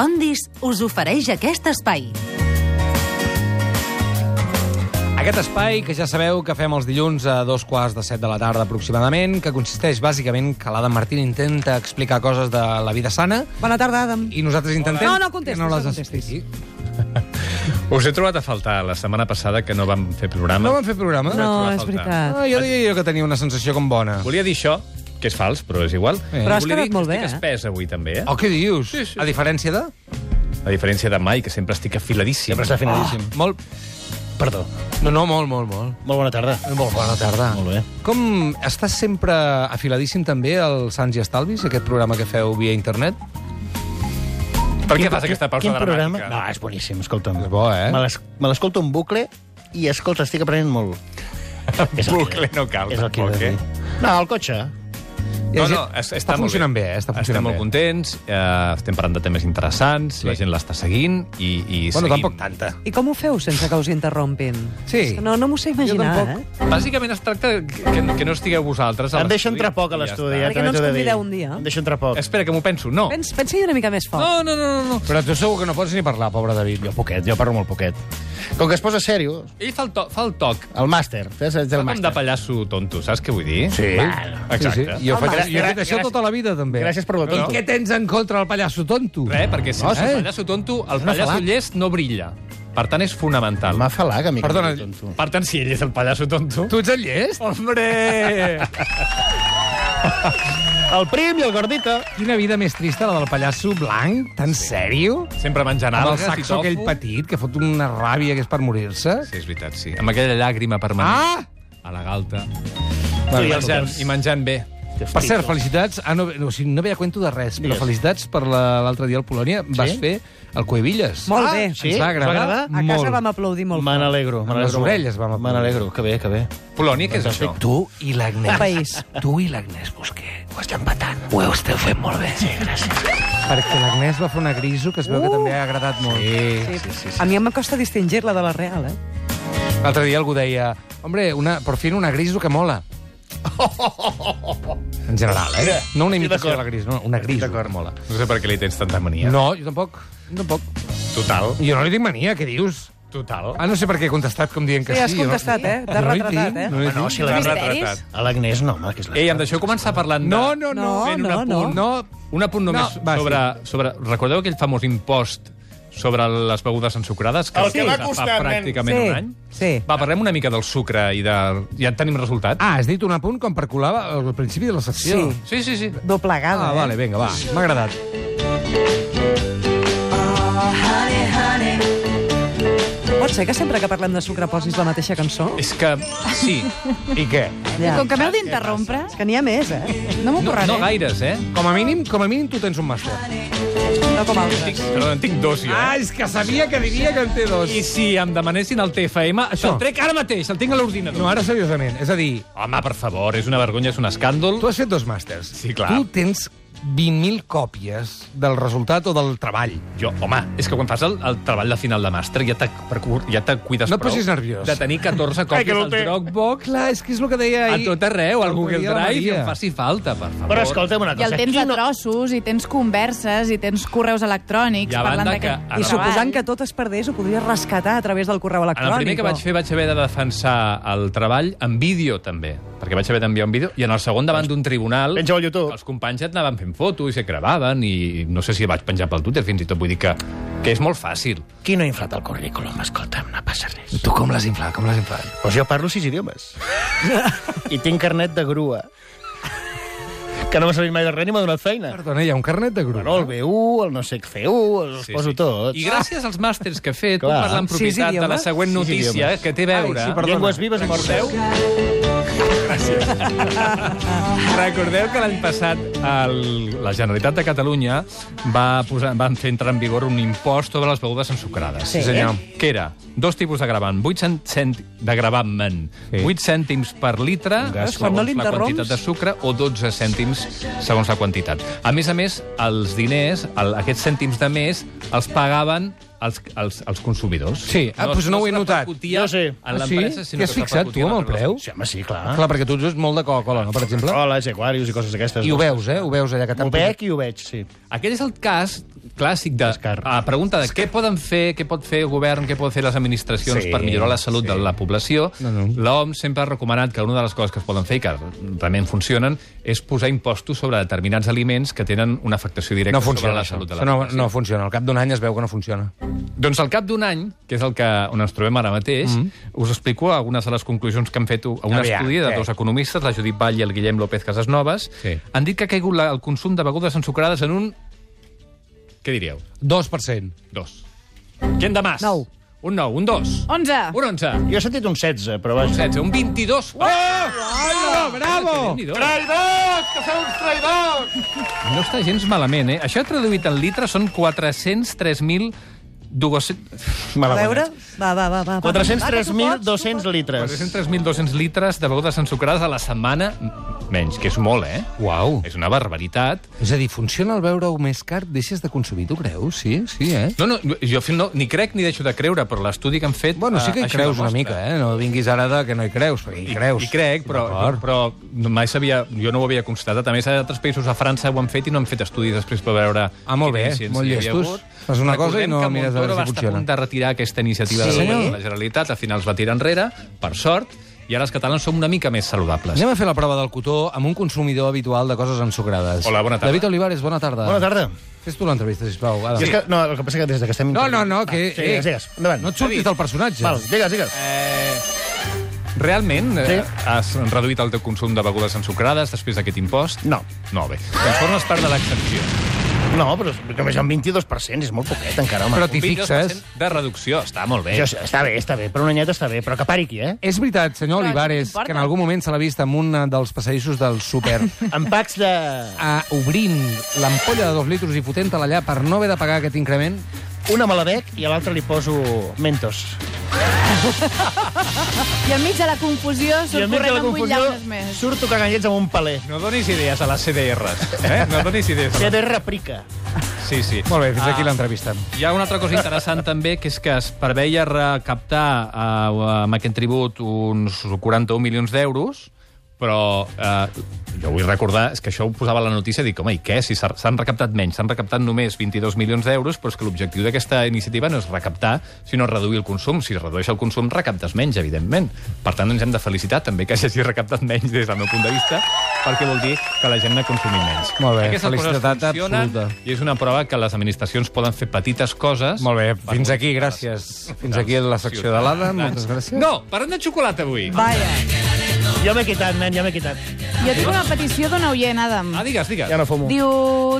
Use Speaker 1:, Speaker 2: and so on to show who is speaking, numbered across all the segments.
Speaker 1: Indis us ofereix aquest espai.
Speaker 2: Aquest espai que ja sabeu que fem els dilluns a dos quarts de set de la tarda aproximadament, que consisteix bàsicament que l'Adam Martín intenta explicar coses de la vida sana
Speaker 3: Bona tarda, Adam.
Speaker 2: i nosaltres intentem
Speaker 3: No, no contestis,
Speaker 2: que no les
Speaker 3: no contestis.
Speaker 2: expliqui.
Speaker 4: Us he trobat a faltar la setmana passada que no vam fer programa.
Speaker 2: No vam fer programa?
Speaker 3: No,
Speaker 4: trobar
Speaker 3: Oh, és
Speaker 4: faltar.
Speaker 3: veritat.
Speaker 2: Ah, jo deia jo que tenia una sensació com bona.
Speaker 4: Volia dir això, que és fals, però és igual.
Speaker 2: Eh.
Speaker 3: Però has
Speaker 4: Volia dir
Speaker 3: quedat molt
Speaker 4: que
Speaker 3: bé,
Speaker 4: estic
Speaker 3: eh?
Speaker 4: espès avui, també, eh?
Speaker 2: Oh, què dius?
Speaker 4: Sí, sí.
Speaker 2: A diferència de...
Speaker 4: A diferència de mai, que sempre estic afiladíssim.
Speaker 5: Sempre està finalíssim.
Speaker 2: Oh. Molt...
Speaker 5: Perdó.
Speaker 2: No, no, molt, molt, molt.
Speaker 5: Molt bona tarda.
Speaker 2: Molt bona tarda.
Speaker 5: Molt bé.
Speaker 2: Com estàs sempre afiladíssim també al Sants i Estalvis, aquest programa que feu via internet?
Speaker 4: Ah. Per què fas aquesta pausa
Speaker 5: Quin programa?
Speaker 4: dramàtica?
Speaker 5: No, és boníssim, escolta'm.
Speaker 2: És bo, eh?
Speaker 5: Me l'es- Me l'escolto en bucle i, escolta, estic aprenent molt. És el que-
Speaker 4: bucle no cal,
Speaker 5: És el que he de
Speaker 4: tampoc, eh?
Speaker 5: dir. No, el cotxe.
Speaker 4: No,
Speaker 2: Hi
Speaker 4: no,
Speaker 2: ha gent-
Speaker 4: es,
Speaker 2: està
Speaker 4: molt
Speaker 2: funcionant bé, eh? està funcionant
Speaker 4: Estem molt
Speaker 2: bé.
Speaker 4: contents, eh, estem parlant de temes interessants, sí. la gent l'està seguint i, i
Speaker 2: Bueno,
Speaker 4: seguint.
Speaker 2: tampoc tanta.
Speaker 3: I com ho feu sense que us interrompin?
Speaker 2: Sí.
Speaker 3: No, no m'ho sé imaginar,
Speaker 2: Jo
Speaker 3: eh?
Speaker 2: tampoc.
Speaker 4: Bàsicament es tracta que, no- que no estigueu vosaltres a
Speaker 5: Em
Speaker 4: l'estudi.
Speaker 5: deixa entrar poc a
Speaker 4: Ja
Speaker 5: l'estudi, eh?
Speaker 4: està.
Speaker 3: Perquè no ens
Speaker 5: també t'ho he de dir.
Speaker 3: convideu un dia.
Speaker 5: Em deixa entrar poc.
Speaker 4: Espera, que m'ho penso. No.
Speaker 3: Pens, pensa una mica més
Speaker 2: Oh,
Speaker 3: fort.
Speaker 4: No, no, no, no. no.
Speaker 2: Però tu segur que no pots ni parlar, pobre David.
Speaker 5: Jo poquet, jo parlo molt poquet. Com que es posa sèrio,
Speaker 4: Ell fa el, to, fa el toc.
Speaker 5: el màster, saps? Ets el
Speaker 4: Fa com de
Speaker 5: màster.
Speaker 4: pallasso tonto, saps què vull dir?
Speaker 5: Sí.
Speaker 4: Bueno, exacte.
Speaker 2: Sí, sí. Jo,
Speaker 3: Home,
Speaker 2: faig, jo he
Speaker 5: gràcies-
Speaker 2: fet això tota la vida, també.
Speaker 5: Gràcies per
Speaker 2: I
Speaker 5: votar.
Speaker 2: què tens en contra del pallasso tonto?
Speaker 4: Res, perquè si
Speaker 2: No,
Speaker 4: no, el
Speaker 2: eh?
Speaker 4: pallasso tonto, el
Speaker 5: És una
Speaker 4: pallasso
Speaker 5: falada.
Speaker 4: llest no brilla. Per tant, és fonamental.
Speaker 5: M'ha falat, amic.
Speaker 2: Perdona,
Speaker 5: tonto.
Speaker 4: Per tant, si ell és el pallasso tonto...
Speaker 2: Tu ets el llest?
Speaker 4: Hombre!
Speaker 5: El prim i el gordito.
Speaker 2: Quina vida més trista, la del pallasso blanc, tan sí. sèrio?
Speaker 4: Sempre menjant
Speaker 2: Amb el
Speaker 4: algues i
Speaker 2: saxo
Speaker 4: tofu.
Speaker 2: aquell petit, que fot una ràbia que és per morir-se.
Speaker 4: Sí, és veritat, sí. Amb aquella llàgrima permanent.
Speaker 2: Ah!
Speaker 4: Ah! A la galta.
Speaker 2: Bueno,
Speaker 4: I, menjant,
Speaker 5: doncs.
Speaker 4: I menjant bé.
Speaker 2: Per cert, felicitats. Ah, no, no, o sigui, no veia cuento de res, però
Speaker 5: Digues.
Speaker 2: felicitats per la- l'altre dia al Polònia. Sí? Vas fer el Cuevillas.
Speaker 3: Molt
Speaker 5: Ah,
Speaker 3: bé.
Speaker 5: sí?
Speaker 2: Ens va agradar,
Speaker 5: Us va agradar?
Speaker 3: A casa
Speaker 2: molt.
Speaker 3: vam aplaudir molt
Speaker 5: Me n'alegro. me
Speaker 2: Amb les
Speaker 5: n'alegro molt.
Speaker 2: orelles vam
Speaker 5: Me n'alegro, que bé, que bé.
Speaker 4: Polònia, què és això?
Speaker 2: Doncs Tu i l'Agnès.
Speaker 3: País.
Speaker 2: Tu i l'Agnès Busqué. Ho estem patant. Ho esteu fent molt bé. Sí, gràcies. Perquè l'Agnès va fer una griso que es veu que també ha agradat molt. Uh! Sí.
Speaker 3: Sí. A mi em costa distingir-la de la real, eh?
Speaker 2: L'altre dia algú deia, hombre, una, por fin una griso que mola. En general, eh? No una imitació de la gris, no, una griso que mola.
Speaker 4: No sé per què li tens tanta mania.
Speaker 2: No, jo tampoc. jo Tampoc.
Speaker 4: Total.
Speaker 2: Jo no li tinc mania, què dius?
Speaker 4: Total.
Speaker 2: Ah, no sé per què he contestat com dient que
Speaker 3: Sí,
Speaker 2: sí.
Speaker 3: has
Speaker 2: jo no-
Speaker 3: contestat, eh? T'has
Speaker 2: Jo no hi
Speaker 3: retratat,
Speaker 2: tinc,
Speaker 3: eh?
Speaker 2: No, hi
Speaker 5: Bueno,
Speaker 2: tinc.
Speaker 5: si la...
Speaker 4: retratat.
Speaker 5: A l'Agnès no, home, que és la...
Speaker 4: Ei, em deixeu començar parlant de...
Speaker 2: no, no, no.
Speaker 3: No,
Speaker 4: fent un
Speaker 3: no, no.
Speaker 4: apunt. Un apunt només
Speaker 2: No, va,
Speaker 4: sobre, sobre... Recordeu aquell famós impost sobre les begudes ensucrades?
Speaker 5: El que
Speaker 4: va
Speaker 5: va
Speaker 4: fa
Speaker 5: costar, nen.
Speaker 4: pràcticament
Speaker 3: Sí,
Speaker 4: un any.
Speaker 3: sí.
Speaker 4: Va, parlem una mica del sucre i de... Ja en tenim resultat?
Speaker 2: Ah, has dit un apunt com per colar al principi de la secció.
Speaker 3: Sí.
Speaker 4: Sí, sí, sí.
Speaker 3: Doblegada,
Speaker 2: Ah,
Speaker 3: eh?
Speaker 2: vale, vinga, va. M'ha agradat.
Speaker 3: Pot ser que sempre que parlem de sucre posis la mateixa cançó?
Speaker 4: És que... Sí.
Speaker 2: I què?
Speaker 3: Ja.
Speaker 6: Com que m'heu d'interrompre,
Speaker 3: És que n'hi ha més, eh?
Speaker 6: no m'ho
Speaker 4: No,
Speaker 6: correré.
Speaker 4: no gaires, eh?
Speaker 2: Com a mínim, com a mínim tu tens un màster.
Speaker 3: No com
Speaker 4: Tinc,
Speaker 3: altres.
Speaker 4: perdó, en tinc dos, jo. Eh?
Speaker 2: Ah, és que sabia que diria que en té dos.
Speaker 4: I si em demanessin el TFM, això
Speaker 2: No.
Speaker 4: el trec ara mateix, el tinc a l'ordinador.
Speaker 2: No, ara seriosament. És a dir,
Speaker 4: Home, per favor, és una vergonya, és un escàndol.
Speaker 2: tu has fet dos màsters.
Speaker 4: Sí, clar.
Speaker 2: Tu tens 20.000 còpies del resultat o del treball.
Speaker 4: Jo, home, és que quan fas el, el treball de final de màster ja te, per cur- ja te cuides
Speaker 2: No et
Speaker 4: prou
Speaker 2: posis nerviós.
Speaker 4: de tenir 14
Speaker 2: Ai, que
Speaker 4: còpies
Speaker 2: no
Speaker 4: al
Speaker 2: té.
Speaker 4: Dropbox,
Speaker 2: Clar, és que és el que deia
Speaker 4: a
Speaker 2: ahir.
Speaker 4: tot arreu, al
Speaker 2: El
Speaker 4: Google
Speaker 2: dia de la
Speaker 4: Drive, i
Speaker 2: Maria.
Speaker 4: on faci falta, per favor.
Speaker 5: Però escolta'm una
Speaker 6: I el
Speaker 5: cosa.
Speaker 6: tens
Speaker 5: qui
Speaker 6: a
Speaker 5: no-
Speaker 6: trossos, i tens converses, i tens correus electrònics
Speaker 4: I a banda
Speaker 6: parlant
Speaker 4: que-
Speaker 6: d'aquest
Speaker 4: I
Speaker 3: I
Speaker 4: Ara.
Speaker 3: suposant que tot es perdés, ho podries rescatar a través del correu
Speaker 4: En el
Speaker 3: electrònic.
Speaker 4: primer que
Speaker 3: o-
Speaker 4: vaig fer vaig haver de defensar el treball en vídeo, també, perquè vaig haver d'enviar un vídeo, i en el segon davant d'un tribunal
Speaker 5: Penja-ho al YouTube.
Speaker 4: els companys ja et anaven fent fotos i se gravaven, i no sé si vaig penjar pel Twitter fins i tot, vull dir que, que és molt fàcil.
Speaker 5: Qui no ha inflat el currículum? Escolta'm, no passa res.
Speaker 2: Tu com l'has inflat, com l'has inflat?
Speaker 5: Doncs jo parlo sis idiomes. I tinc carnet de grua. Que no m'ha servit mai de res ni m'ha donat feina.
Speaker 2: Perdona, hi ha un carnet de grup.
Speaker 5: Bueno, el B1, el no sé què C1, els sí, poso tots.
Speaker 4: I gràcies als màsters que he fet, puc
Speaker 5: Clar.
Speaker 4: parlar en
Speaker 3: Sis
Speaker 4: propietat de la
Speaker 3: idiomes?
Speaker 4: següent
Speaker 5: Sis
Speaker 4: notícia
Speaker 5: idiomes.
Speaker 4: que té a veure...
Speaker 2: Ai, sí, perdó.
Speaker 5: Ah, Llengües vives i mortes.
Speaker 4: Recordeu que l'any passat el, la Generalitat de Catalunya va, posar, va fer entrar en vigor un impost sobre les begudes ensucrades.
Speaker 3: Sí.
Speaker 4: Que era dos tipus de gravant, 8 cent, cent, de gravament,
Speaker 2: Sí.
Speaker 4: 8 cèntims per litre, eh,
Speaker 3: gas, quan
Speaker 4: segons
Speaker 3: no
Speaker 4: la
Speaker 3: l'interromps.
Speaker 4: quantitat de sucre, o 12 cèntims segons la quantitat. A més a més, els diners, el, aquests cèntims de més, els pagaven als, als, als consumidors.
Speaker 2: Sí. Ah, doncs no ho he
Speaker 4: es
Speaker 2: notat.
Speaker 4: repercutia
Speaker 5: Jo sí.
Speaker 4: En
Speaker 2: Ah,
Speaker 4: l'empresa,
Speaker 2: sí?
Speaker 4: sinó
Speaker 2: T'hi has
Speaker 4: que es
Speaker 2: fixat,
Speaker 4: repercutia
Speaker 2: tu,
Speaker 4: en
Speaker 2: amb el
Speaker 4: la
Speaker 2: preu?
Speaker 5: Sí, home, sí, clar.
Speaker 2: Clar, perquè tu ets molt de Coca-Cola, no, per exemple?
Speaker 5: Hola, Jaguarius i coses d'aquestes.
Speaker 2: I ho veus, eh? Ho veus allà que
Speaker 5: Ho
Speaker 2: t'han
Speaker 5: veig i ho veig, sí.
Speaker 4: Aquest és el cas clàssic de
Speaker 5: Escar.
Speaker 4: a la pregunta de què poden fer, què pot fer el govern, què poden fer les administracions
Speaker 5: Sí,
Speaker 4: per millorar la salut
Speaker 5: sí.
Speaker 4: de la població.
Speaker 2: No, no.
Speaker 4: L'OMS sempre ha recomanat que una de les coses que es poden fer i que realment funcionen és posar impostos sobre determinats aliments que tenen una afectació directa
Speaker 2: No funciona,
Speaker 4: sobre la
Speaker 2: això.
Speaker 4: salut de
Speaker 2: Això
Speaker 4: la
Speaker 2: no,
Speaker 4: població.
Speaker 2: no funciona. Al cap d'un any es veu que no funciona.
Speaker 4: Doncs al cap d'un any, que és el que on ens trobem ara mateix, us explico algunes de les conclusions que han fet un
Speaker 2: Mm. Aviam,
Speaker 4: estudi de
Speaker 2: què?
Speaker 4: dos economistes, la Judit Vall i el Guillem López Casasnovas.
Speaker 2: Sí.
Speaker 4: Han dit que ha caigut la, el consum de begudes ensucrades en un... Què diríeu?
Speaker 2: 2%.
Speaker 4: Dos. Quin de mas?
Speaker 3: Nou.
Speaker 4: Un nou, un dos.
Speaker 6: 11.
Speaker 4: Un onze.
Speaker 5: Jo he sentit un 16, però vaja.
Speaker 4: 16, un 22. Oh!
Speaker 2: Oh, bravo!
Speaker 5: Traïdors! Que són uns traïdors!
Speaker 4: No està gens malament, eh? Això traduït en litres són 403.000 200...
Speaker 3: A veure, va, va, va. va, va.
Speaker 5: 403.200 litres.
Speaker 4: 403.200 litres de begudes ensucrades a la setmana, menys, que és molt, eh?
Speaker 2: Uau.
Speaker 4: És una barbaritat.
Speaker 2: És a dir, funciona el veure-ho més car, deixes de consumir, tu creus? Sí, sí, eh?
Speaker 4: No, no, jo fi- no, ni crec ni deixo de creure, però l'estudi que han fet...
Speaker 2: Bueno, sí
Speaker 4: eh,
Speaker 2: que hi
Speaker 4: això
Speaker 2: creus una
Speaker 4: demostra.
Speaker 2: mica, eh? No vinguis ara de que no hi creus, perquè hi creus.
Speaker 4: Hi crec, però,
Speaker 2: D'acord.
Speaker 4: però mai sabia... Jo no ho havia constatat. A més, a altres països, a França, ho han fet i no han fet estudis després per veure...
Speaker 2: Ah, molt
Speaker 4: quina
Speaker 2: bé,
Speaker 4: eficiència
Speaker 2: molt
Speaker 4: hi havia
Speaker 2: llestos.
Speaker 4: hagut.
Speaker 2: Fas una cosa i
Speaker 4: Recordem
Speaker 2: no
Speaker 4: que
Speaker 2: mires a veure si
Speaker 4: Montoro va estar a
Speaker 2: funciona.
Speaker 4: punt de retirar aquesta iniciativa
Speaker 2: Sí,
Speaker 4: de
Speaker 2: senyor?
Speaker 4: la Generalitat, al final es va tirar enrere, per sort, i ara els catalans som una mica més saludables.
Speaker 2: Anem a fer la prova del cotó amb un consumidor habitual de coses ensucrades.
Speaker 4: Hola, bona tarda.
Speaker 2: David Olivares, bona tarda.
Speaker 5: Bona tarda.
Speaker 2: Fes tu l'entrevista, sisplau. Adam.
Speaker 5: Sí. És que, no, el que passa és que des que estem...
Speaker 2: Ah. No, no, no, que... eh,
Speaker 5: Ah, sí, digues, digues. Endavant.
Speaker 2: No et surtis del personatge.
Speaker 5: Val, digues, digues.
Speaker 4: Eh, Realment
Speaker 5: Sí.
Speaker 4: eh, has reduït el teu consum de begudes ensucrades després d'aquest impost?
Speaker 5: No.
Speaker 4: No, bé. Doncs formes part de l'excepció.
Speaker 5: No, però només hi ha un 22%, és molt poquet encara, home.
Speaker 2: Però
Speaker 5: Però
Speaker 2: t'hi
Speaker 4: Un 22%
Speaker 2: fixes?
Speaker 4: De reducció, està molt bé.
Speaker 5: jo, està bé, està bé, però una anyeta està bé, però que pari aquí, eh?
Speaker 2: És veritat, senyor
Speaker 6: Però això
Speaker 2: Olivares,
Speaker 6: t'importa.
Speaker 2: que en algun moment se l'ha vist en un dels passadissos del súper
Speaker 5: En packs de...
Speaker 2: a obrint l'ampolla de dos litros i fotent-te allà per no haver de pagar aquest increment?
Speaker 5: Una me la bec i a l'altra li poso Mentos.
Speaker 6: I enmig de la confusió
Speaker 5: I
Speaker 6: surt
Speaker 5: enmig de
Speaker 6: corrent
Speaker 5: la
Speaker 6: amb vuit
Speaker 5: confusió
Speaker 6: llaunes més.
Speaker 5: surto cagallets amb un paler.
Speaker 4: No donis idees a les CDRs, eh? No donis idees. A les...
Speaker 5: CD replica. Ah.
Speaker 4: Sí, sí.
Speaker 2: Molt bé, fins aquí l'entrevista.
Speaker 4: Hi ha una altra cosa interessant també, que és que es preveia recaptar eh, amb aquest tribut uns 41 milions d'euros, però eh, jo vull recordar, és que això ho posava a la notícia, dic, home, i què? Si s'ha- s'han recaptat menys, s'han recaptat només 22 milions d'euros, però és que l'objectiu d'aquesta iniciativa no és recaptar, sinó reduir el consum. Si es redueix el consum, recaptes menys, evidentment. Per tant, ens hem de felicitar també que s'hagi recaptat menys des del meu punt de vista, perquè vol dir que la gent n'ha consumit menys.
Speaker 2: Molt bé,
Speaker 4: Aquestes coses
Speaker 2: felicitat
Speaker 4: funcionen
Speaker 2: absoluta.
Speaker 4: i és una prova que les administracions poden fer petites coses...
Speaker 2: Molt bé, fins aquí, gràcies. Fins aquí la secció de l'Ada, moltes gràcies.
Speaker 4: No, parlem de xocolata avui.
Speaker 6: Vaja.
Speaker 5: Jo m'he quitat, nen, ja m'he quitat.
Speaker 6: Jo tinc una petició d'un oient, Adam.
Speaker 4: Ah, digues, digues.
Speaker 5: Ja no fumo.
Speaker 6: Diu,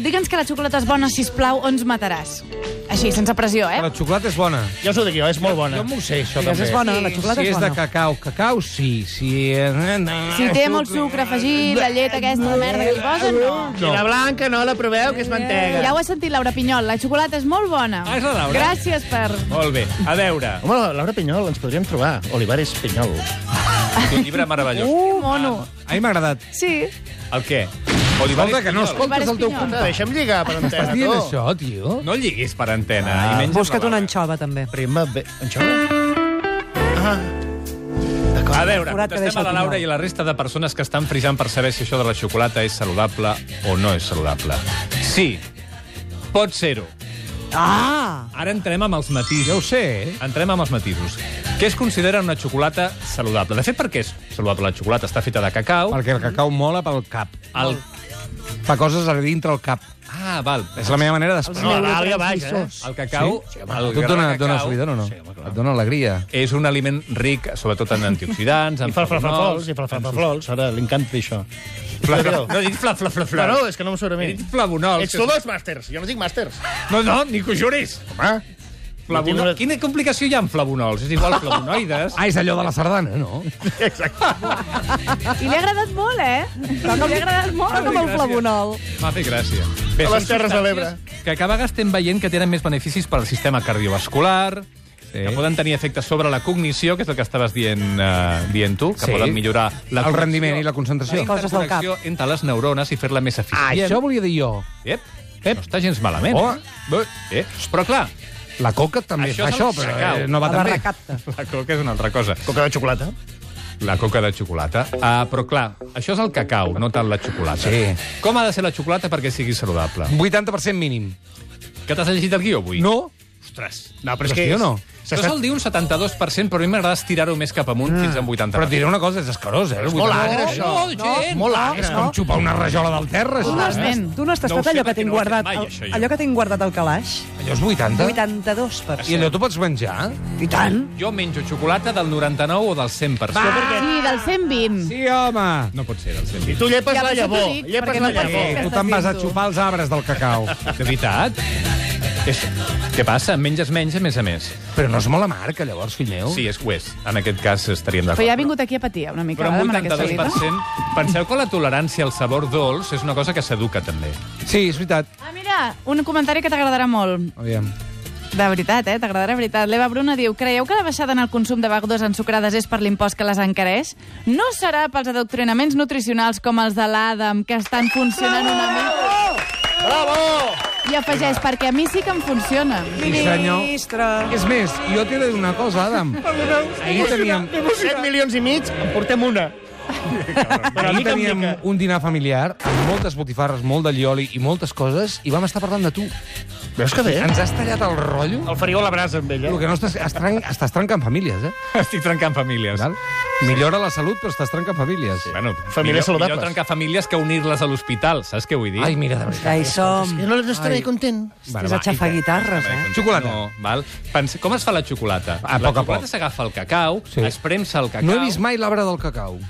Speaker 6: digue'ns que la xocolata és bona, si plau, o ens mataràs. Així, sense pressió,
Speaker 2: Però
Speaker 6: eh?
Speaker 2: la xocolata és bona.
Speaker 5: Ja us ho dic jo, és molt bona.
Speaker 2: m'ho sé, això,
Speaker 3: Digues, és bona, la xocolata
Speaker 2: si
Speaker 3: és
Speaker 2: és de
Speaker 3: bona.
Speaker 2: cacau, cacau, sí. Si,
Speaker 6: Si té molt sucre afegit, la llet aquesta merda que li posen, no.
Speaker 5: I la blanca no la proveu, que és mantega.
Speaker 6: Ja ho has sentit, Laura Pinyol, la xocolata és molt bona.
Speaker 4: Ah, és la Laura.
Speaker 6: Gràcies per...
Speaker 4: Molt bé, a veure,
Speaker 5: Home, Laura Pinyol, ens podríem trobar. Olivares Pinyol.
Speaker 4: un llibre meravellós.
Speaker 6: Uh, mono.
Speaker 2: A mi m'ha agradat.
Speaker 6: Sí.
Speaker 4: El què?
Speaker 2: Escolta, que no
Speaker 6: Olivares
Speaker 2: escoltes el teu
Speaker 6: Pinyol.
Speaker 2: compte.
Speaker 5: Deixa'm lligar per
Speaker 2: Estàs
Speaker 5: antena,
Speaker 2: dient
Speaker 5: tu.
Speaker 2: això, tio?
Speaker 4: No lliguis per antena. Ah, i menys
Speaker 3: Busca't una anxova, també.
Speaker 5: Prima bé... Això? Ah.
Speaker 4: A
Speaker 5: D'acord.
Speaker 4: veure,
Speaker 3: Forat que
Speaker 4: contestem
Speaker 3: deixa
Speaker 4: a
Speaker 3: el
Speaker 4: la Laura
Speaker 3: Pinyol.
Speaker 4: i a la resta de persones que estan frisant per saber si això de la xocolata és saludable o no és saludable. Sí, pot ser-ho.
Speaker 3: Ah!
Speaker 4: Ara entrem amb els matisos.
Speaker 2: Ja ho sé, eh?
Speaker 4: Entrem amb els matisos. Què es considera una xocolata saludable? De fet, per què és saludable la xocolata? Està feta de cacau.
Speaker 2: Perquè el cacau mola pel cap.
Speaker 4: El...
Speaker 2: Fa coses a dintre el cap.
Speaker 4: Ah, val.
Speaker 2: És la meva manera
Speaker 5: No,
Speaker 2: d'explicar.
Speaker 5: l'àlia baixa, eh?
Speaker 4: El cacau... Sí? El
Speaker 2: Tu et dona,
Speaker 4: gra de
Speaker 2: et dona
Speaker 4: cacau
Speaker 2: subidon o no? Et dona alegria.
Speaker 4: És un aliment ric, sobretot en antioxidants, en
Speaker 5: I fa el
Speaker 4: flavonols...
Speaker 5: flaflaflols, i fa el flaflaflols. Ara li encanta dir això.
Speaker 4: Fla- No he dit fla, fla, fla, fla.
Speaker 5: No, no, és que no m'ho surt a mi.
Speaker 4: He dit flavonols.
Speaker 5: Ets tu dos màsters, jo no dic màsters.
Speaker 4: No, no, ni que ho juris.
Speaker 5: Home,
Speaker 4: Flavono...
Speaker 5: No tinc-
Speaker 4: Quina complicació hi ha amb flavonols? És igual flavonoides.
Speaker 2: Ah, és allò de la sardana, no?
Speaker 6: I li ha agradat molt, eh? Li ha agradat molt.
Speaker 3: Però com el flavonol.
Speaker 4: M'ha fet gràcia.
Speaker 5: A
Speaker 4: són
Speaker 5: les Terres de l'Ebre.
Speaker 4: substàncies Que a vegades estem veient que tenen més beneficis per al sistema cardiovascular, eh, Sí. que poden tenir efectes sobre la cognició, que és el que estaves dient, uh, dient tu, que
Speaker 2: Sí.
Speaker 4: poden millorar la Ah,
Speaker 2: El
Speaker 4: connexió,
Speaker 2: rendiment i la concentració.
Speaker 4: La
Speaker 3: Coses del cap.
Speaker 4: interconnexió entre les neurones i fer-la més eficient.
Speaker 2: Això volia Ah, dir jo.
Speaker 4: Ep, ep. No està gens malament.
Speaker 2: Oh.
Speaker 4: Eh? Eh? Però clar,
Speaker 2: La coca també
Speaker 4: Això
Speaker 2: fa
Speaker 4: és
Speaker 2: això,
Speaker 4: el
Speaker 2: però
Speaker 4: cacau.
Speaker 2: eh, no va
Speaker 3: la
Speaker 2: tan bé.
Speaker 3: barracata.
Speaker 4: La coca és una altra cosa.
Speaker 5: Coca de xocolata.
Speaker 4: La coca de xocolata. Ah, però clar, això és el cacau, no tant la xocolata.
Speaker 2: Sí.
Speaker 4: Com ha de ser la xocolata perquè sigui saludable?
Speaker 2: 80% mínim.
Speaker 4: Que t'has llegit el guió avui?
Speaker 2: No?
Speaker 4: Ostres.
Speaker 5: No,
Speaker 2: Però sí o no?
Speaker 4: Jo
Speaker 5: s'està-
Speaker 4: sol dir un 72%, però a mi m'agrada estirar-ho més cap amunt fins a un 80%.
Speaker 2: Però et diré una cosa, és escarós, eh?
Speaker 5: És molt agre,
Speaker 4: No,
Speaker 5: això.
Speaker 4: no, gent.
Speaker 5: Molt agre.
Speaker 2: És com xupar una rajola del terra,
Speaker 3: Tu no, has,
Speaker 2: això.
Speaker 6: Totalment.
Speaker 3: tu no has tastat
Speaker 4: No ho sé
Speaker 3: allò que
Speaker 4: perquè
Speaker 3: tinc
Speaker 4: no ho he fet
Speaker 3: guardat,
Speaker 4: mai,
Speaker 3: al-
Speaker 4: això, jo.
Speaker 3: allò que tinc guardat al calaix?
Speaker 2: Allò és 80?
Speaker 3: 82 per
Speaker 2: I allò t'ho pots menjar?
Speaker 3: I tant.
Speaker 4: Jo menjo xocolata del 99 o del 100%.
Speaker 6: Sí, del 120.
Speaker 2: Sí, home!
Speaker 4: No pot ser del 100%.
Speaker 5: I tu llepes
Speaker 6: Ja,
Speaker 5: la
Speaker 6: per això t'ho
Speaker 5: llavor.
Speaker 6: dic,
Speaker 5: Llepes la
Speaker 6: perquè no pot
Speaker 5: llavor.
Speaker 6: ser.
Speaker 2: Tu te'n vas a
Speaker 6: fent tu?
Speaker 2: xupar els arbres del cacau.
Speaker 4: De veritat? És... Què passa? Menges menys, a més a més.
Speaker 2: Però no és molt amarg, llavors, fill meu?
Speaker 4: Sí, és que ho és. En aquest cas estaríem d'acord.
Speaker 6: Però ja ha vingut aquí a patir una mica,
Speaker 4: Però
Speaker 6: eh,
Speaker 4: un
Speaker 6: amb aquesta vida.
Speaker 4: 82%... Penseu que la tolerància al sabor dolç és una cosa que s'educa, també.
Speaker 2: Sí, és veritat.
Speaker 6: Ah, mira, un comentari que t'agradarà molt.
Speaker 2: Aviam.
Speaker 6: De veritat, eh? T'agradarà de veritat. L'Eva Bruna diu, creieu que la baixada en el consum de begudes ensucrades és per l'impost que les encareix? No serà pels adoctrinaments nutricionals com els de l'Adam, que estan funcionant una mica? Bravo! I afegeix, perquè a mi sí que em funciona.
Speaker 2: Sí, senyor.
Speaker 3: Ministre.
Speaker 2: És més, jo t'he de dir una cosa, Adam. Ahir teníem,
Speaker 5: 7 milions i mig, en portem una. Però
Speaker 2: ahir teníem un dinar familiar amb moltes botifarres, molt de lioli i moltes coses i vam estar parlant de tu.
Speaker 5: Veus que bé?
Speaker 2: Ens has tallat el rotllo?
Speaker 5: El faríeu a la brasa amb ella.
Speaker 2: El que no estàs, estàs, trenc, estàs trencant famílies, eh?
Speaker 4: Estic trencant famílies.
Speaker 2: Val? Millora la salut, però estàs trencant famílies.
Speaker 4: Bueno,
Speaker 5: Famílies
Speaker 4: millor,
Speaker 5: saludables.
Speaker 4: millor trencar famílies que unir-les a l'hospital, saps què vull dir?
Speaker 2: Ai, mira, de veritat.
Speaker 3: Ja hi som.
Speaker 5: Jo no estaré content.
Speaker 2: Bueno,
Speaker 3: És
Speaker 2: va,
Speaker 3: a xafar guitarres, eh?
Speaker 2: Xocolata.
Speaker 4: No, val? Pensa, com es fa la xocolata?
Speaker 2: A
Speaker 4: la
Speaker 2: poc a
Speaker 4: xocolata
Speaker 2: poc.
Speaker 4: s'agafa el cacau,
Speaker 2: Sí.
Speaker 4: sí. es premsa el cacau...
Speaker 2: No he vist mai l'arbre del cacau.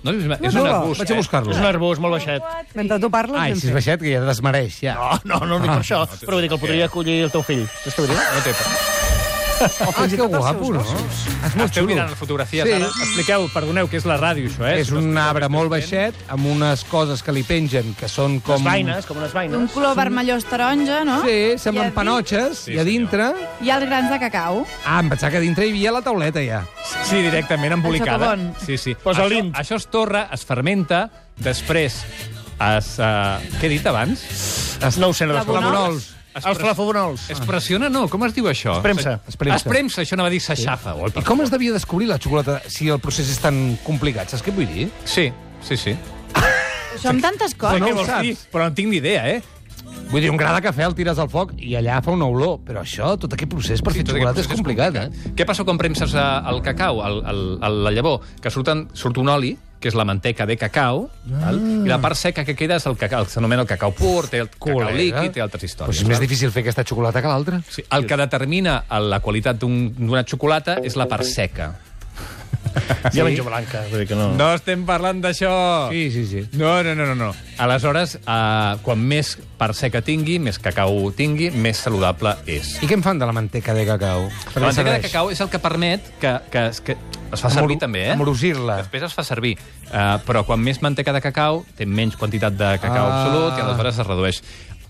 Speaker 4: No l'he vist mai. és
Speaker 3: no,
Speaker 4: un
Speaker 3: no,
Speaker 4: arbust,
Speaker 2: Vaig a
Speaker 4: eh?
Speaker 2: buscar-lo.
Speaker 5: És un arbós molt baixet.
Speaker 3: Mentre tu parles...
Speaker 2: Ai,
Speaker 3: anem
Speaker 2: si és
Speaker 3: fent.
Speaker 2: baixet, que ja es desmereix, ja.
Speaker 5: No, no, no, no dic per això. Però vull dir que el podria acollir el teu fill. Saps què vull dir?
Speaker 4: No té per...
Speaker 2: Ah, que guapo, no? És molt
Speaker 4: Esteu
Speaker 2: xulo.
Speaker 4: mirant les fotografies
Speaker 2: Sí.
Speaker 4: sí. ara. Expliqueu, perdoneu, que és la ràdio, això, eh?
Speaker 2: És un arbre molt baixet, amb unes coses que li pengen, que són com...
Speaker 5: Com... Les vaines, com unes
Speaker 6: Un
Speaker 5: vaines.
Speaker 6: color vermellós taronja, no?
Speaker 2: Sí,
Speaker 6: Ah, I
Speaker 2: semblen
Speaker 6: a
Speaker 2: panotxes,
Speaker 4: Sí,
Speaker 2: i a dintre...
Speaker 6: dins Hi ha els grans de cacau.
Speaker 2: Ah, em pensava que a dintre hi havia la tauleta, ja.
Speaker 4: Sí, directament embolicada.
Speaker 6: El socavón.
Speaker 4: Sí, sí.
Speaker 5: Posa
Speaker 4: això,
Speaker 5: l'int.
Speaker 4: això es torra, es fermenta, després es... Uh, què he dit abans?
Speaker 5: No ho sé, no
Speaker 6: La
Speaker 5: desconec.
Speaker 6: Bonols?
Speaker 2: Flavonols.
Speaker 5: Els flafobonols.
Speaker 4: Es pressiona, no? Com es diu això?
Speaker 5: Ah. Es premsa.
Speaker 4: Es premsa, es premsa això anava a dir s'aixafa.
Speaker 2: I
Speaker 4: Sí.
Speaker 2: com es devia descobrir la xocolata si el procés és tan complicat? Saps què vull dir?
Speaker 4: sí, sí, sí.
Speaker 6: Això amb tantes
Speaker 4: Sé
Speaker 6: coses.
Speaker 4: què
Speaker 2: ho
Speaker 4: vols
Speaker 2: saps.
Speaker 4: dir, però no en tinc ni idea, eh?
Speaker 2: Vull dir, un gra de cafè el tires al foc i allà fa una olor. Però això, tot aquest procés per fer
Speaker 4: tot
Speaker 2: xocolata
Speaker 4: aquest
Speaker 2: és
Speaker 4: procés
Speaker 2: complicat, eh?
Speaker 4: Què passa quan premses eh, el cacau, el, el, el, la llavor? Que surten, surt un oli, que és la manteca de cacau, val? i la part seca que queda és el cacau, el que s'anomena el cacau pur, té el cacau
Speaker 2: Col·lega.
Speaker 4: líquid, té altres
Speaker 2: Però
Speaker 4: històries.
Speaker 2: és més
Speaker 4: val?
Speaker 2: difícil fer aquesta xocolata que l'altra.
Speaker 4: Sí, el que determina el- la qualitat d'un- d'una xocolata és la part seca.
Speaker 5: Jo menjo blanca, vull dir que no...
Speaker 4: No estem parlant d'això!
Speaker 2: Sí, sí, sí.
Speaker 4: No, no, no, no, no. Aleshores, eh, quan més part seca tingui, més cacau tingui, més saludable és.
Speaker 2: I què en fan de la manteca de cacau? Per
Speaker 4: La
Speaker 2: què
Speaker 4: manteca de
Speaker 2: serveix?
Speaker 4: cacau és el que permet que, que, es- que es fa servir
Speaker 2: Amor-
Speaker 4: també, eh?
Speaker 2: Amorosir-la.
Speaker 4: Després es fa servir, uh, però quan més manteca de cacau, té menys quantitat de
Speaker 2: Ah.
Speaker 4: cacau ah. absolut i aleshores es redueix.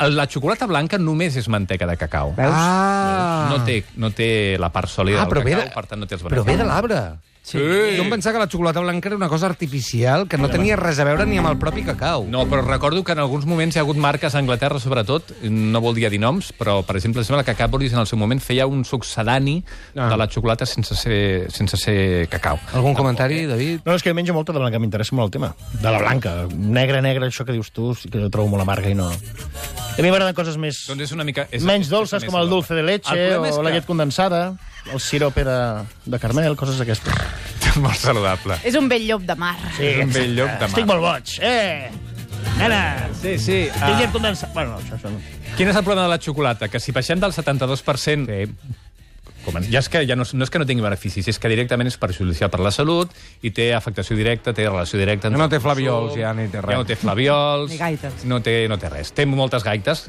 Speaker 4: El- La xocolata blanca només és manteca de cacau.
Speaker 2: Ah,
Speaker 4: No, té, no té la part sòlida
Speaker 2: ah,
Speaker 4: del
Speaker 2: però, ve
Speaker 4: cacau,
Speaker 2: de,
Speaker 4: per tant no té els
Speaker 2: però
Speaker 4: beneficis.
Speaker 2: ve de l'arbre. Sí. Jo em pensava que la xocolata blanca era una cosa artificial que no tenia res a veure ni amb el propi cacau.
Speaker 4: No, però recordo que en alguns moments hi ha hagut marques a Anglaterra, sobretot, no voldria dir noms, però, per exemple, sembla que Cadbury's en el seu moment feia un succedani
Speaker 2: Ah.
Speaker 4: ah. de la xocolata sense ser, sense ser cacau.
Speaker 2: Algun comentari, David?
Speaker 5: No, és que menjo molta de blanca, m'interessa molt el tema. De la blanca, negra, negra, això que dius tu, sí que jo trobo molt amarga i no... A mi m'agraden coses més...
Speaker 4: Doncs és una mica... És,
Speaker 5: menys
Speaker 4: és-
Speaker 5: dolces,
Speaker 4: és
Speaker 5: com el
Speaker 4: saludable.
Speaker 5: dulce de
Speaker 4: El
Speaker 5: leche o
Speaker 4: problema és
Speaker 5: la
Speaker 4: que-
Speaker 5: llet condensada, el sirope de, de carmel, coses d'aquestes.
Speaker 4: Molt saludable.
Speaker 6: És un vell llop de mar.
Speaker 4: És un bell lloc de mar.
Speaker 5: Estic molt boig. Eh! Nena!
Speaker 4: Sí, sí.
Speaker 5: Ah.
Speaker 4: Ah,
Speaker 5: Llet condensada... Bueno, no, això, això no.
Speaker 4: quin és el problema de la xocolata? Que si baixem del 72%... Sí. Com, en- ja és que ja no, no és que no tingui beneficis, és que directament és perjudicial per la salut i té afectació directa, té relació directa... entre
Speaker 2: Ja no
Speaker 4: el
Speaker 2: té
Speaker 4: consum,
Speaker 2: flaviols, ja, ni té res.
Speaker 4: Ja no té flaviols...
Speaker 3: Ni gaites.
Speaker 4: No té, no té res. Té moltes gaites,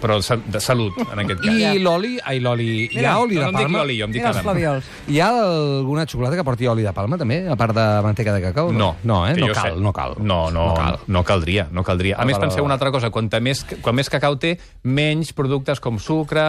Speaker 4: però sa- de salut, en aquest cas.
Speaker 2: I l'oli? Ai, l'oli. Hi ha
Speaker 4: no,
Speaker 2: oli de
Speaker 4: no em dic
Speaker 2: palma?
Speaker 4: l'oli, jo em dic
Speaker 3: Mira els
Speaker 4: Adam.
Speaker 3: flaviols.
Speaker 2: Hi ha alguna xocolata que porti oli de palma, també, a part de manteca de cacau?
Speaker 4: No,
Speaker 2: No, eh?
Speaker 4: que
Speaker 2: No
Speaker 4: jo
Speaker 2: cal,
Speaker 4: sé.
Speaker 2: no cal.
Speaker 4: No, no,
Speaker 2: No
Speaker 4: no,
Speaker 2: cal. Ah,
Speaker 4: cal. no caldria, no caldria. A
Speaker 2: No
Speaker 4: més,
Speaker 2: cal, no
Speaker 4: penseu
Speaker 2: cal.
Speaker 4: una altra cosa. Quanta més, quan més cacau té, menys productes com sucre,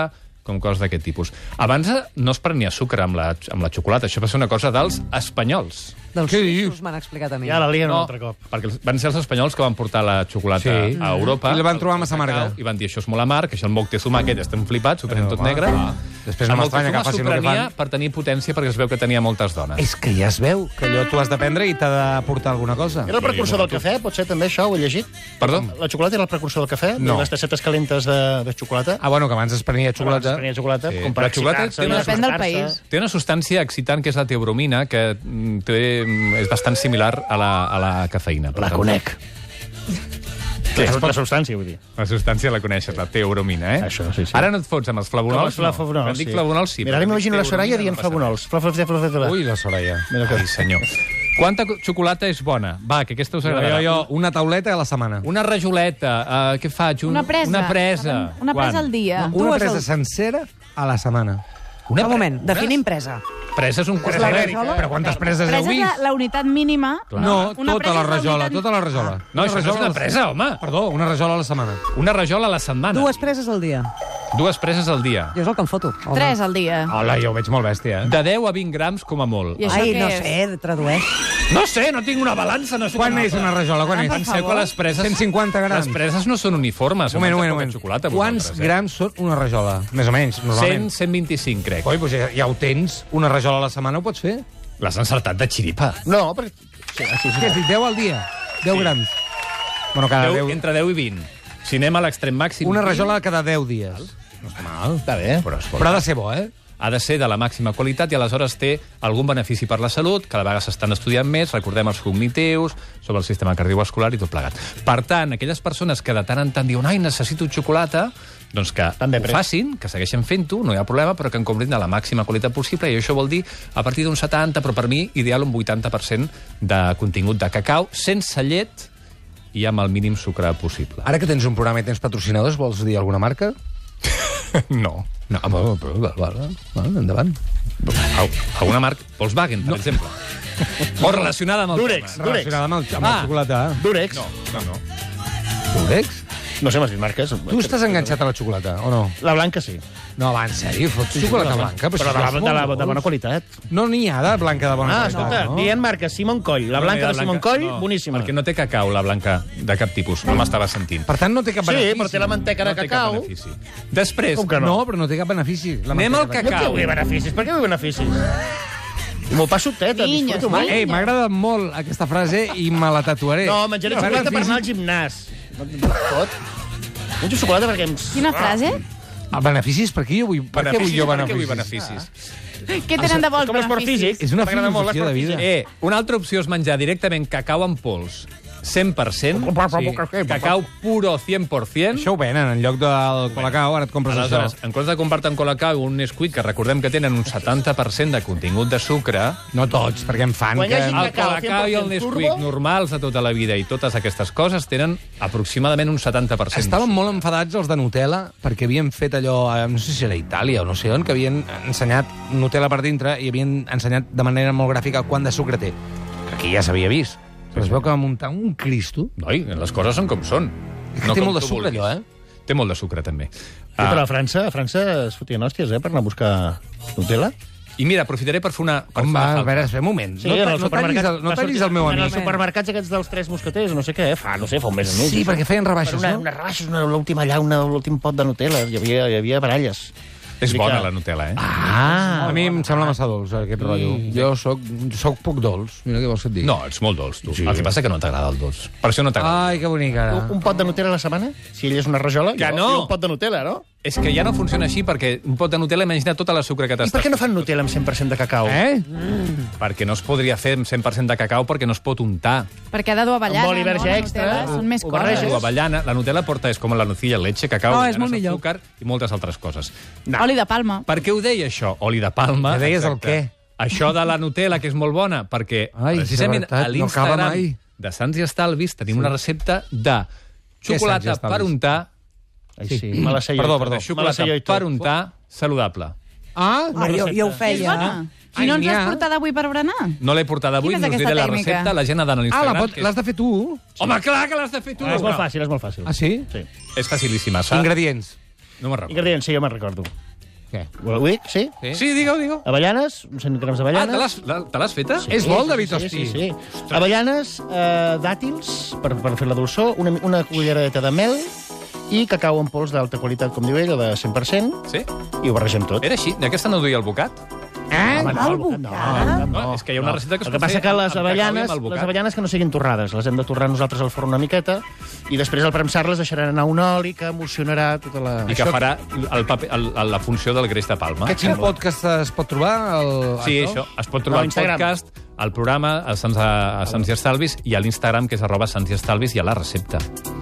Speaker 4: com coses d'aquest tipus. Abans eh, no es prenia sucre amb la, amb la xocolata. Això va ser una cosa dels espanyols.
Speaker 3: dels
Speaker 2: Què
Speaker 3: suïssos
Speaker 2: dius?
Speaker 3: m'han explicat a mi.
Speaker 5: Ja la lien un altre cop.
Speaker 4: perquè els- van ser els espanyols que van portar la xocolata
Speaker 2: Sí.
Speaker 4: sí. a Europa.
Speaker 2: I la van trobar
Speaker 4: al- al
Speaker 2: massa amarga.
Speaker 4: cacau, I van dir, això és molt amarg, això el moctezuma aquest, estem flipats, ho tenim
Speaker 2: Però,
Speaker 4: tot
Speaker 2: va,
Speaker 4: negre.
Speaker 2: va. Després no
Speaker 4: El
Speaker 2: m'estranya que
Speaker 4: Moctezuma
Speaker 2: facin
Speaker 4: s'ho
Speaker 2: el que
Speaker 4: prenia
Speaker 2: fan. Eh,
Speaker 4: per tenir potència, perquè es veu que tenia moltes dones.
Speaker 2: És que ja es veu que allò tu has de prendre i t'ha de portar alguna cosa.
Speaker 4: Ah.
Speaker 5: Era el precursor del cafè, potser també això, ho he llegit?
Speaker 4: Perdó?
Speaker 5: La xocolata era el precursor del cafè?
Speaker 2: No.
Speaker 5: Les tassetes calentes de, de xocolata?
Speaker 2: Ah, bueno, que abans es prenia xocolata.
Speaker 5: Abans es prenia xocolata,
Speaker 4: Sí.
Speaker 5: com per
Speaker 4: La xocolata
Speaker 5: excitar-se,
Speaker 4: té una-
Speaker 6: Depèn del
Speaker 5: despertar-se.
Speaker 6: país.
Speaker 4: Té una substància excitant, que és la teobromina, que mm, té, mm, és bastant similar a la, a la cafeïna. Per
Speaker 5: La
Speaker 4: tant,
Speaker 5: conec. Què? La substància, vull dir.
Speaker 4: La substància la coneixes, la teobromina, eh?
Speaker 5: Això, sí, sí.
Speaker 4: Ara no et fots amb els flavonols,
Speaker 5: Com els flavonols,
Speaker 4: no. Quan dic
Speaker 5: sí.
Speaker 4: flavonols, sí.
Speaker 5: Mira, ara
Speaker 4: però
Speaker 5: m'imagino
Speaker 4: dic
Speaker 5: la Soraya
Speaker 4: teobromina,
Speaker 5: dient
Speaker 4: no passa
Speaker 5: flavonols. Fla, fla, fla, fla, fla, fla.
Speaker 2: Ui, la Soraya.
Speaker 5: Mira
Speaker 4: res.
Speaker 5: que...
Speaker 4: Ai, senyor. Quanta co- xocolata és bona? Va, que aquesta us
Speaker 2: Jo,
Speaker 4: agradarà.
Speaker 2: jo, jo, una tauleta a la setmana.
Speaker 4: Una rajoleta, uh, què faig? Un,
Speaker 6: Una presa.
Speaker 4: Una presa.
Speaker 6: Una presa
Speaker 4: Quan?
Speaker 6: al dia.
Speaker 2: Una
Speaker 3: Dues
Speaker 2: presa
Speaker 3: al-
Speaker 2: sencera a la setmana.
Speaker 3: Una un moment, definim presa.
Speaker 4: Presa és un quart de
Speaker 2: Eh, Però quantes preses heu
Speaker 6: Presa és la,
Speaker 2: vist?
Speaker 6: la unitat mínima.
Speaker 2: No,
Speaker 6: Una
Speaker 2: tota la
Speaker 6: presa és la
Speaker 2: rajola,
Speaker 6: unitat-
Speaker 2: tota la rajola.
Speaker 4: No, això no és
Speaker 2: rajola a
Speaker 4: una
Speaker 2: la-
Speaker 4: presa, home.
Speaker 2: Perdó, una rajola a la setmana.
Speaker 4: Una rajola a la setmana.
Speaker 3: Dues preses al dia.
Speaker 4: Dues preses al dia.
Speaker 3: Jo és el que em foto. home.
Speaker 6: Tres al dia.
Speaker 2: Hola, jo ho veig molt bèstia, eh?
Speaker 4: De 10 a 20 grams com a molt.
Speaker 6: I això
Speaker 3: Ai,
Speaker 6: què
Speaker 3: no
Speaker 6: és?
Speaker 3: sé, tradueix.
Speaker 4: No sé, no tinc una balança, no sé
Speaker 2: Quan
Speaker 4: com-
Speaker 2: és Ah, una rajola?
Speaker 6: Ah,
Speaker 2: Quan és?
Speaker 4: Penseu que les preses...
Speaker 2: 150 grams.
Speaker 4: Les preses no són uniformes.
Speaker 2: Un moment, un moment, un
Speaker 4: mengeu
Speaker 2: moment.
Speaker 4: poca Xocolata,
Speaker 2: Quants
Speaker 4: vosaltres, eh?
Speaker 2: grams són una rajola? Més o menys, normalment.
Speaker 4: 100, 125, crec.
Speaker 2: Coi, doncs ja, ja ho tens. Una rajola a la setmana ho pots fer?
Speaker 4: L'has encertat de xiripa.
Speaker 5: No, perquè... Sí, sí,
Speaker 2: Què
Speaker 5: sí.
Speaker 2: has dit? 10 al dia? 10 sí. grams. Bueno, cada
Speaker 4: 10,
Speaker 2: 10...
Speaker 4: entre 10 i 20. Si anem a l'extrem màxim...
Speaker 2: Una
Speaker 4: 20,
Speaker 2: rajola cada 10 dies.
Speaker 5: Està bé. eh?
Speaker 4: Però, escolta,
Speaker 2: Però ha de ser bo, eh?
Speaker 4: ha de ser de la màxima qualitat i aleshores té algun benefici per la salut, cada vegada s'estan estudiant més, recordem els cognitius, sobre el sistema cardiovascular i tot plegat. Per tant, aquelles persones que de tant en tant diuen ai, necessito xocolata, doncs que
Speaker 5: També
Speaker 4: ho
Speaker 5: pres.
Speaker 4: facin, que segueixen fent-ho, no hi ha problema, però que en comprin de la màxima qualitat possible i això vol dir a partir d'un 70, però per mi ideal un 80% de contingut de cacau, sense llet i amb el mínim sucre possible.
Speaker 2: Ara que tens un programa i tens patrocinadors, vols dir alguna marca?
Speaker 4: No. Ah, No, però, però, però, però, però endavant. Alguna marca? Volkswagen, per no. exemple. O relacionada amb el
Speaker 5: Durex.
Speaker 4: tema.
Speaker 5: Durex.
Speaker 2: Relacionada amb el, amb ah.
Speaker 4: Ah.
Speaker 2: la xocolata.
Speaker 5: Durex.
Speaker 4: No,
Speaker 5: No,
Speaker 4: no, no.
Speaker 2: Durex?
Speaker 5: sé, m'has dit marques.
Speaker 2: Tu estàs enganxat a la xocolata, o no?
Speaker 5: La blanca sí.
Speaker 2: No, va, en sèrio, fots xocolata blanca?
Speaker 5: Però,
Speaker 2: si
Speaker 5: de, la,
Speaker 2: fas
Speaker 5: de, la,
Speaker 2: molt
Speaker 5: de bona
Speaker 2: dolç.
Speaker 5: qualitat.
Speaker 2: No n'hi ha de blanca de bona
Speaker 5: Ah,
Speaker 2: qualitat,
Speaker 5: escolta,
Speaker 2: no?
Speaker 5: dient marques, Simon Coll. La blanca de Simon Coll, boníssima.
Speaker 4: Perquè no té cacau, la blanca, de cap tipus. No m'estava sentint.
Speaker 2: Per tant, no té cap
Speaker 5: Sí,
Speaker 2: benefici.
Speaker 5: però té la manteca de
Speaker 4: no té cap
Speaker 5: cacau.
Speaker 4: benefici. Després,
Speaker 5: Com que no?
Speaker 2: No, però no té cap benefici. La
Speaker 4: anem al
Speaker 2: manteca de
Speaker 5: No
Speaker 4: cacau.
Speaker 5: té beneficis. Per què vull beneficis? M'ho passo teta,
Speaker 6: Niños,
Speaker 5: disfruto
Speaker 2: Ma-
Speaker 5: molt.
Speaker 2: Ei, m'ha agradat molt aquesta frase i me la tatuaré.
Speaker 5: No, menjaré xocolata per anar al gimnàs. No Tot. Menjo xocolata perquè em...
Speaker 6: Quina frase?
Speaker 2: El benefici és per aquí, jo vull... Per què vull jo
Speaker 4: Per què
Speaker 2: beneficis?
Speaker 4: vull beneficis?
Speaker 6: Què tenen de bo els
Speaker 5: com l'esport
Speaker 6: beneficis?
Speaker 5: físic.
Speaker 2: És una
Speaker 5: M'agrada molt
Speaker 2: filosofia de
Speaker 5: l'esport
Speaker 2: vida.
Speaker 5: físic.
Speaker 4: Eh, una altra opció és menjar directament cacau en pols. 100%. Sí. Cacau puro 100%.
Speaker 2: Això ho venen, en lloc del colacao, ara et compres
Speaker 4: Aleshores,
Speaker 2: això.
Speaker 4: en comptes de comprar-te un colacau o un Nesquik, que recordem que tenen un 70% de contingut de sucre,
Speaker 2: No tots, perquè em fan
Speaker 5: Quan hi
Speaker 2: que...
Speaker 5: hagi
Speaker 4: Eh, el
Speaker 5: Cacau
Speaker 4: colacau i el
Speaker 5: 100%
Speaker 4: Nesquik
Speaker 5: turbo.
Speaker 4: normals de tota la vida i totes aquestes coses tenen aproximadament un 70%.
Speaker 2: Estaven molt enfadats els de Nutella perquè havien fet allò, a- no sé si era a Itàlia o no sé on, que havien ensenyat Nutella per dintre i havien ensenyat de manera molt gràfica quant de sucre té. Que Aquí ja s'havia vist. Però es veu que va muntar un cristo.
Speaker 4: Noi, les coses són com són.
Speaker 2: que té
Speaker 4: com
Speaker 2: molt de
Speaker 4: tu
Speaker 2: sucre,
Speaker 4: vulguis.
Speaker 2: allò, eh?
Speaker 4: Té molt de sucre, també.
Speaker 5: Sí, però a França, a França es fotien hòsties, eh, per anar a buscar Nutella.
Speaker 4: I mira, aprofitaré per fer una... per
Speaker 2: Com
Speaker 4: fer una
Speaker 2: va? A
Speaker 4: falta.
Speaker 2: veure, espera un moment.
Speaker 5: Sí,
Speaker 2: no,
Speaker 5: en
Speaker 2: ta-
Speaker 5: els
Speaker 2: no tallis
Speaker 5: supermercats-
Speaker 2: el, no
Speaker 5: va
Speaker 2: tallis
Speaker 5: sortir
Speaker 2: el meu
Speaker 5: En
Speaker 2: amic.
Speaker 5: els supermercats aquests dels tres mosqueters, no sé què, eh, fa, no sé, fa un mes o mig.
Speaker 2: Sí, perquè feien
Speaker 5: Per
Speaker 2: rebaixes, eh?
Speaker 5: una,
Speaker 2: no?
Speaker 5: una rebaixa, una, l'última allà, una, l'últim pot de Nutella. Hi havia, hi havia baralles.
Speaker 4: És
Speaker 5: Vull dir
Speaker 4: bona,
Speaker 5: que-
Speaker 4: la Nutella, eh?
Speaker 2: Ah, a mi em sembla massa dolç, eh, aquest rotllo. Jo sóc, sóc poc dolç, mira què vols que et digui.
Speaker 4: No, ets molt dolç, tu. Sí. El que passa que no t'agrada el dolç. Per això no t'agrada.
Speaker 2: Ai, que bonica, ara.
Speaker 5: Un, un pot de Nutella a la setmana? Si ell és una rajola,
Speaker 4: Que
Speaker 5: jo,
Speaker 4: no.
Speaker 5: jo un pot de Nutella, no?
Speaker 4: És que ja no funciona així, perquè un pot de Nutella, imagina tota la sucre que
Speaker 5: I
Speaker 4: t'estàs...
Speaker 5: per què no fan Nutella amb 100% de cacau?
Speaker 2: Eh?
Speaker 4: Perquè no es podria fer amb 100% de cacau perquè no es pot untar.
Speaker 6: Perquè ha de dur avellana,
Speaker 5: Amb oli
Speaker 6: no?
Speaker 5: verge
Speaker 6: La
Speaker 5: extra,
Speaker 6: Nutella,
Speaker 5: ho-
Speaker 6: Ah, Són més
Speaker 5: ho
Speaker 6: coses.
Speaker 5: barreges.
Speaker 4: O avellana, la Nutella porta és com la nocilla, leche, cacau,
Speaker 3: No, és
Speaker 4: avellanes
Speaker 3: molt
Speaker 4: amb
Speaker 3: millor.
Speaker 4: azúcar i moltes altres coses.
Speaker 6: Oli de palma.
Speaker 4: Per què ho deia això? Oli de palma.
Speaker 2: Que deies el què?
Speaker 4: Això de la Nutella, que és molt bona, perquè
Speaker 2: Ai,
Speaker 4: precisament
Speaker 2: és veritat,
Speaker 4: a
Speaker 2: no acaba
Speaker 4: l'Instagram
Speaker 2: mai.
Speaker 4: de Sants i Estalvis tenim sí. una recepta de
Speaker 2: Què és Sants i
Speaker 4: xocolata
Speaker 2: Estalvis?
Speaker 4: per untar,
Speaker 5: Ai, sí. Me la sé jo.
Speaker 2: Perdó,
Speaker 5: i tot.
Speaker 2: perdó.
Speaker 4: de
Speaker 5: Me la sé
Speaker 4: xocolata
Speaker 5: jo i tot.
Speaker 4: per untar saludable.
Speaker 2: Ah,
Speaker 3: Ah, jo, jo ho
Speaker 6: És
Speaker 3: feia.
Speaker 6: bona.
Speaker 2: Ai,
Speaker 6: I no ens
Speaker 2: n'hi ha.
Speaker 6: l'has portat avui per berenar?
Speaker 4: No l'he portada avui,
Speaker 6: Quina és
Speaker 4: no us
Speaker 6: aquesta
Speaker 4: diré la
Speaker 6: tècnica?
Speaker 4: recepta, la gent ha d'anar a
Speaker 2: ah la
Speaker 4: l'Instagram.
Speaker 2: pot,
Speaker 4: que és-
Speaker 2: l'has de fer tu?
Speaker 4: Home, clar que l'has de fer tu!
Speaker 5: Ah, és molt fàcil, és molt fàcil.
Speaker 2: Ah, sí?
Speaker 5: Sí.
Speaker 4: És facilíssima. s'ha-
Speaker 2: Ingredients.
Speaker 4: No me'n recordo.
Speaker 5: Ingredients, sí, jo me'n recordo.
Speaker 2: Què?
Speaker 5: Ho dic, sí?
Speaker 2: Sí?
Speaker 4: Sí, digue-ho, digue-ho.
Speaker 5: Avellanes, 100 grams
Speaker 4: Ah,
Speaker 5: d'avellanes.
Speaker 4: te l'has- la- te l'has feta?
Speaker 2: És bo el David
Speaker 5: sí,
Speaker 2: Hosti.
Speaker 5: sí, sí. Avellanes, eh, dàtils, per, per fer la dolçor, una, una culleradeta de mel i cacau en pols d'alta qualitat, com diu ell, de 100%,
Speaker 4: Sí?
Speaker 5: i ho barregem tot.
Speaker 4: Era així? D'aquesta no duia el bocat?
Speaker 5: Ah, no,
Speaker 3: al
Speaker 5: no,
Speaker 3: bocat?
Speaker 5: no,
Speaker 4: No, és que hi ha una recepta que es
Speaker 5: El que
Speaker 4: pot
Speaker 5: passa
Speaker 4: fer
Speaker 5: que
Speaker 4: amb
Speaker 5: les
Speaker 4: cacau i amb
Speaker 5: avellanes,
Speaker 4: el bocat.
Speaker 5: les avellanes que no siguin torrades, les hem de torrar nosaltres al forn una miqueta i després al premsar-les deixaran anar un oli que emulsionarà tota la...
Speaker 4: I que farà el paper, el, el, la funció del greix de palma.
Speaker 2: A quin podcast es pot trobar? El...
Speaker 4: Ah, Sí, això. Es pot trobar
Speaker 5: No,
Speaker 4: al
Speaker 5: Instagram.
Speaker 4: podcast, al programa, a Sants, a, a Sants i Estalvis, i a l'Instagram, que és arroba Sants i Estalvis, i a la recepta.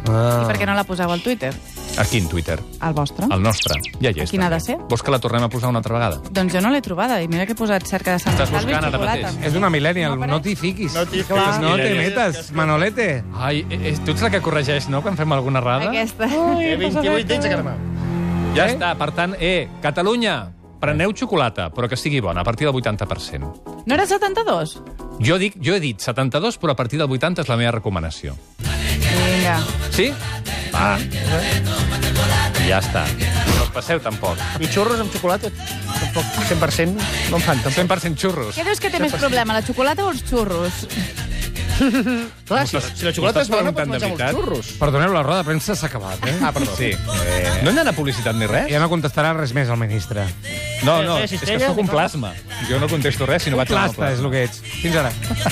Speaker 2: Ah.
Speaker 6: I per què no la poseu al Twitter?
Speaker 4: Aquí, en Twitter.
Speaker 6: Al vostre?
Speaker 5: Ah.
Speaker 4: El nostre. Ja hi és.
Speaker 6: Quina ha
Speaker 4: també.
Speaker 6: de ser?
Speaker 4: Vols que la tornem a posar una altra vegada?
Speaker 6: Doncs jo no l'he trobada, i mira que he posat cerca de Sant
Speaker 4: Estàs
Speaker 6: Estalvi
Speaker 4: buscant ara
Speaker 6: xocolata.
Speaker 4: mateix.
Speaker 2: És una millennial,
Speaker 6: No
Speaker 2: no, t'hi fiquis.
Speaker 5: No t'hi fiquis.
Speaker 2: No te
Speaker 5: Millennial.
Speaker 2: metes, Manolete.
Speaker 4: Ai, eh, eh, tu ets la que corregeix, no?, quan fem alguna errada?
Speaker 6: Aquesta.
Speaker 5: Té 28 Eh, dits a cada mà.
Speaker 4: Ja està. Per tant, eh, Catalunya,
Speaker 5: Eh.
Speaker 4: preneu xocolata, però que sigui bona, a partir del 80%.
Speaker 6: No era 72?
Speaker 4: Jo, dic, jo he dit 72, però a partir del 80 és la meva recomanació.
Speaker 6: Vinga.
Speaker 4: Sí? Va. Ja està. No us passeu tampoc.
Speaker 5: I xurros amb xocolata, tampoc 100%, no en fan, tampoc.
Speaker 4: 100% xurros.
Speaker 6: Què dius que té més problema, la xocolata o els xurros?
Speaker 4: M'ho
Speaker 5: Clar, si,
Speaker 4: estàs-
Speaker 5: si la xocolata
Speaker 4: m'ho
Speaker 5: és
Speaker 4: estàs
Speaker 5: bona,
Speaker 4: preguntant
Speaker 5: pots
Speaker 4: de
Speaker 5: menjar molts
Speaker 4: veritat?
Speaker 5: xurros.
Speaker 2: Perdoneu, la roda de premsa s'ha acabat, eh?
Speaker 4: Ah, perdó. Sí. Eh... No hem d'anar a publicitat ni res?
Speaker 2: Ja no contestarà res més el ministre.
Speaker 4: No, no,
Speaker 5: Eh,
Speaker 4: és que
Speaker 5: cistelles
Speaker 4: sóc un
Speaker 5: i tot.
Speaker 4: plasma. Jo no contesto res si no vaig al
Speaker 2: Plasta
Speaker 4: plasma.
Speaker 2: és el que ets. Fins ara.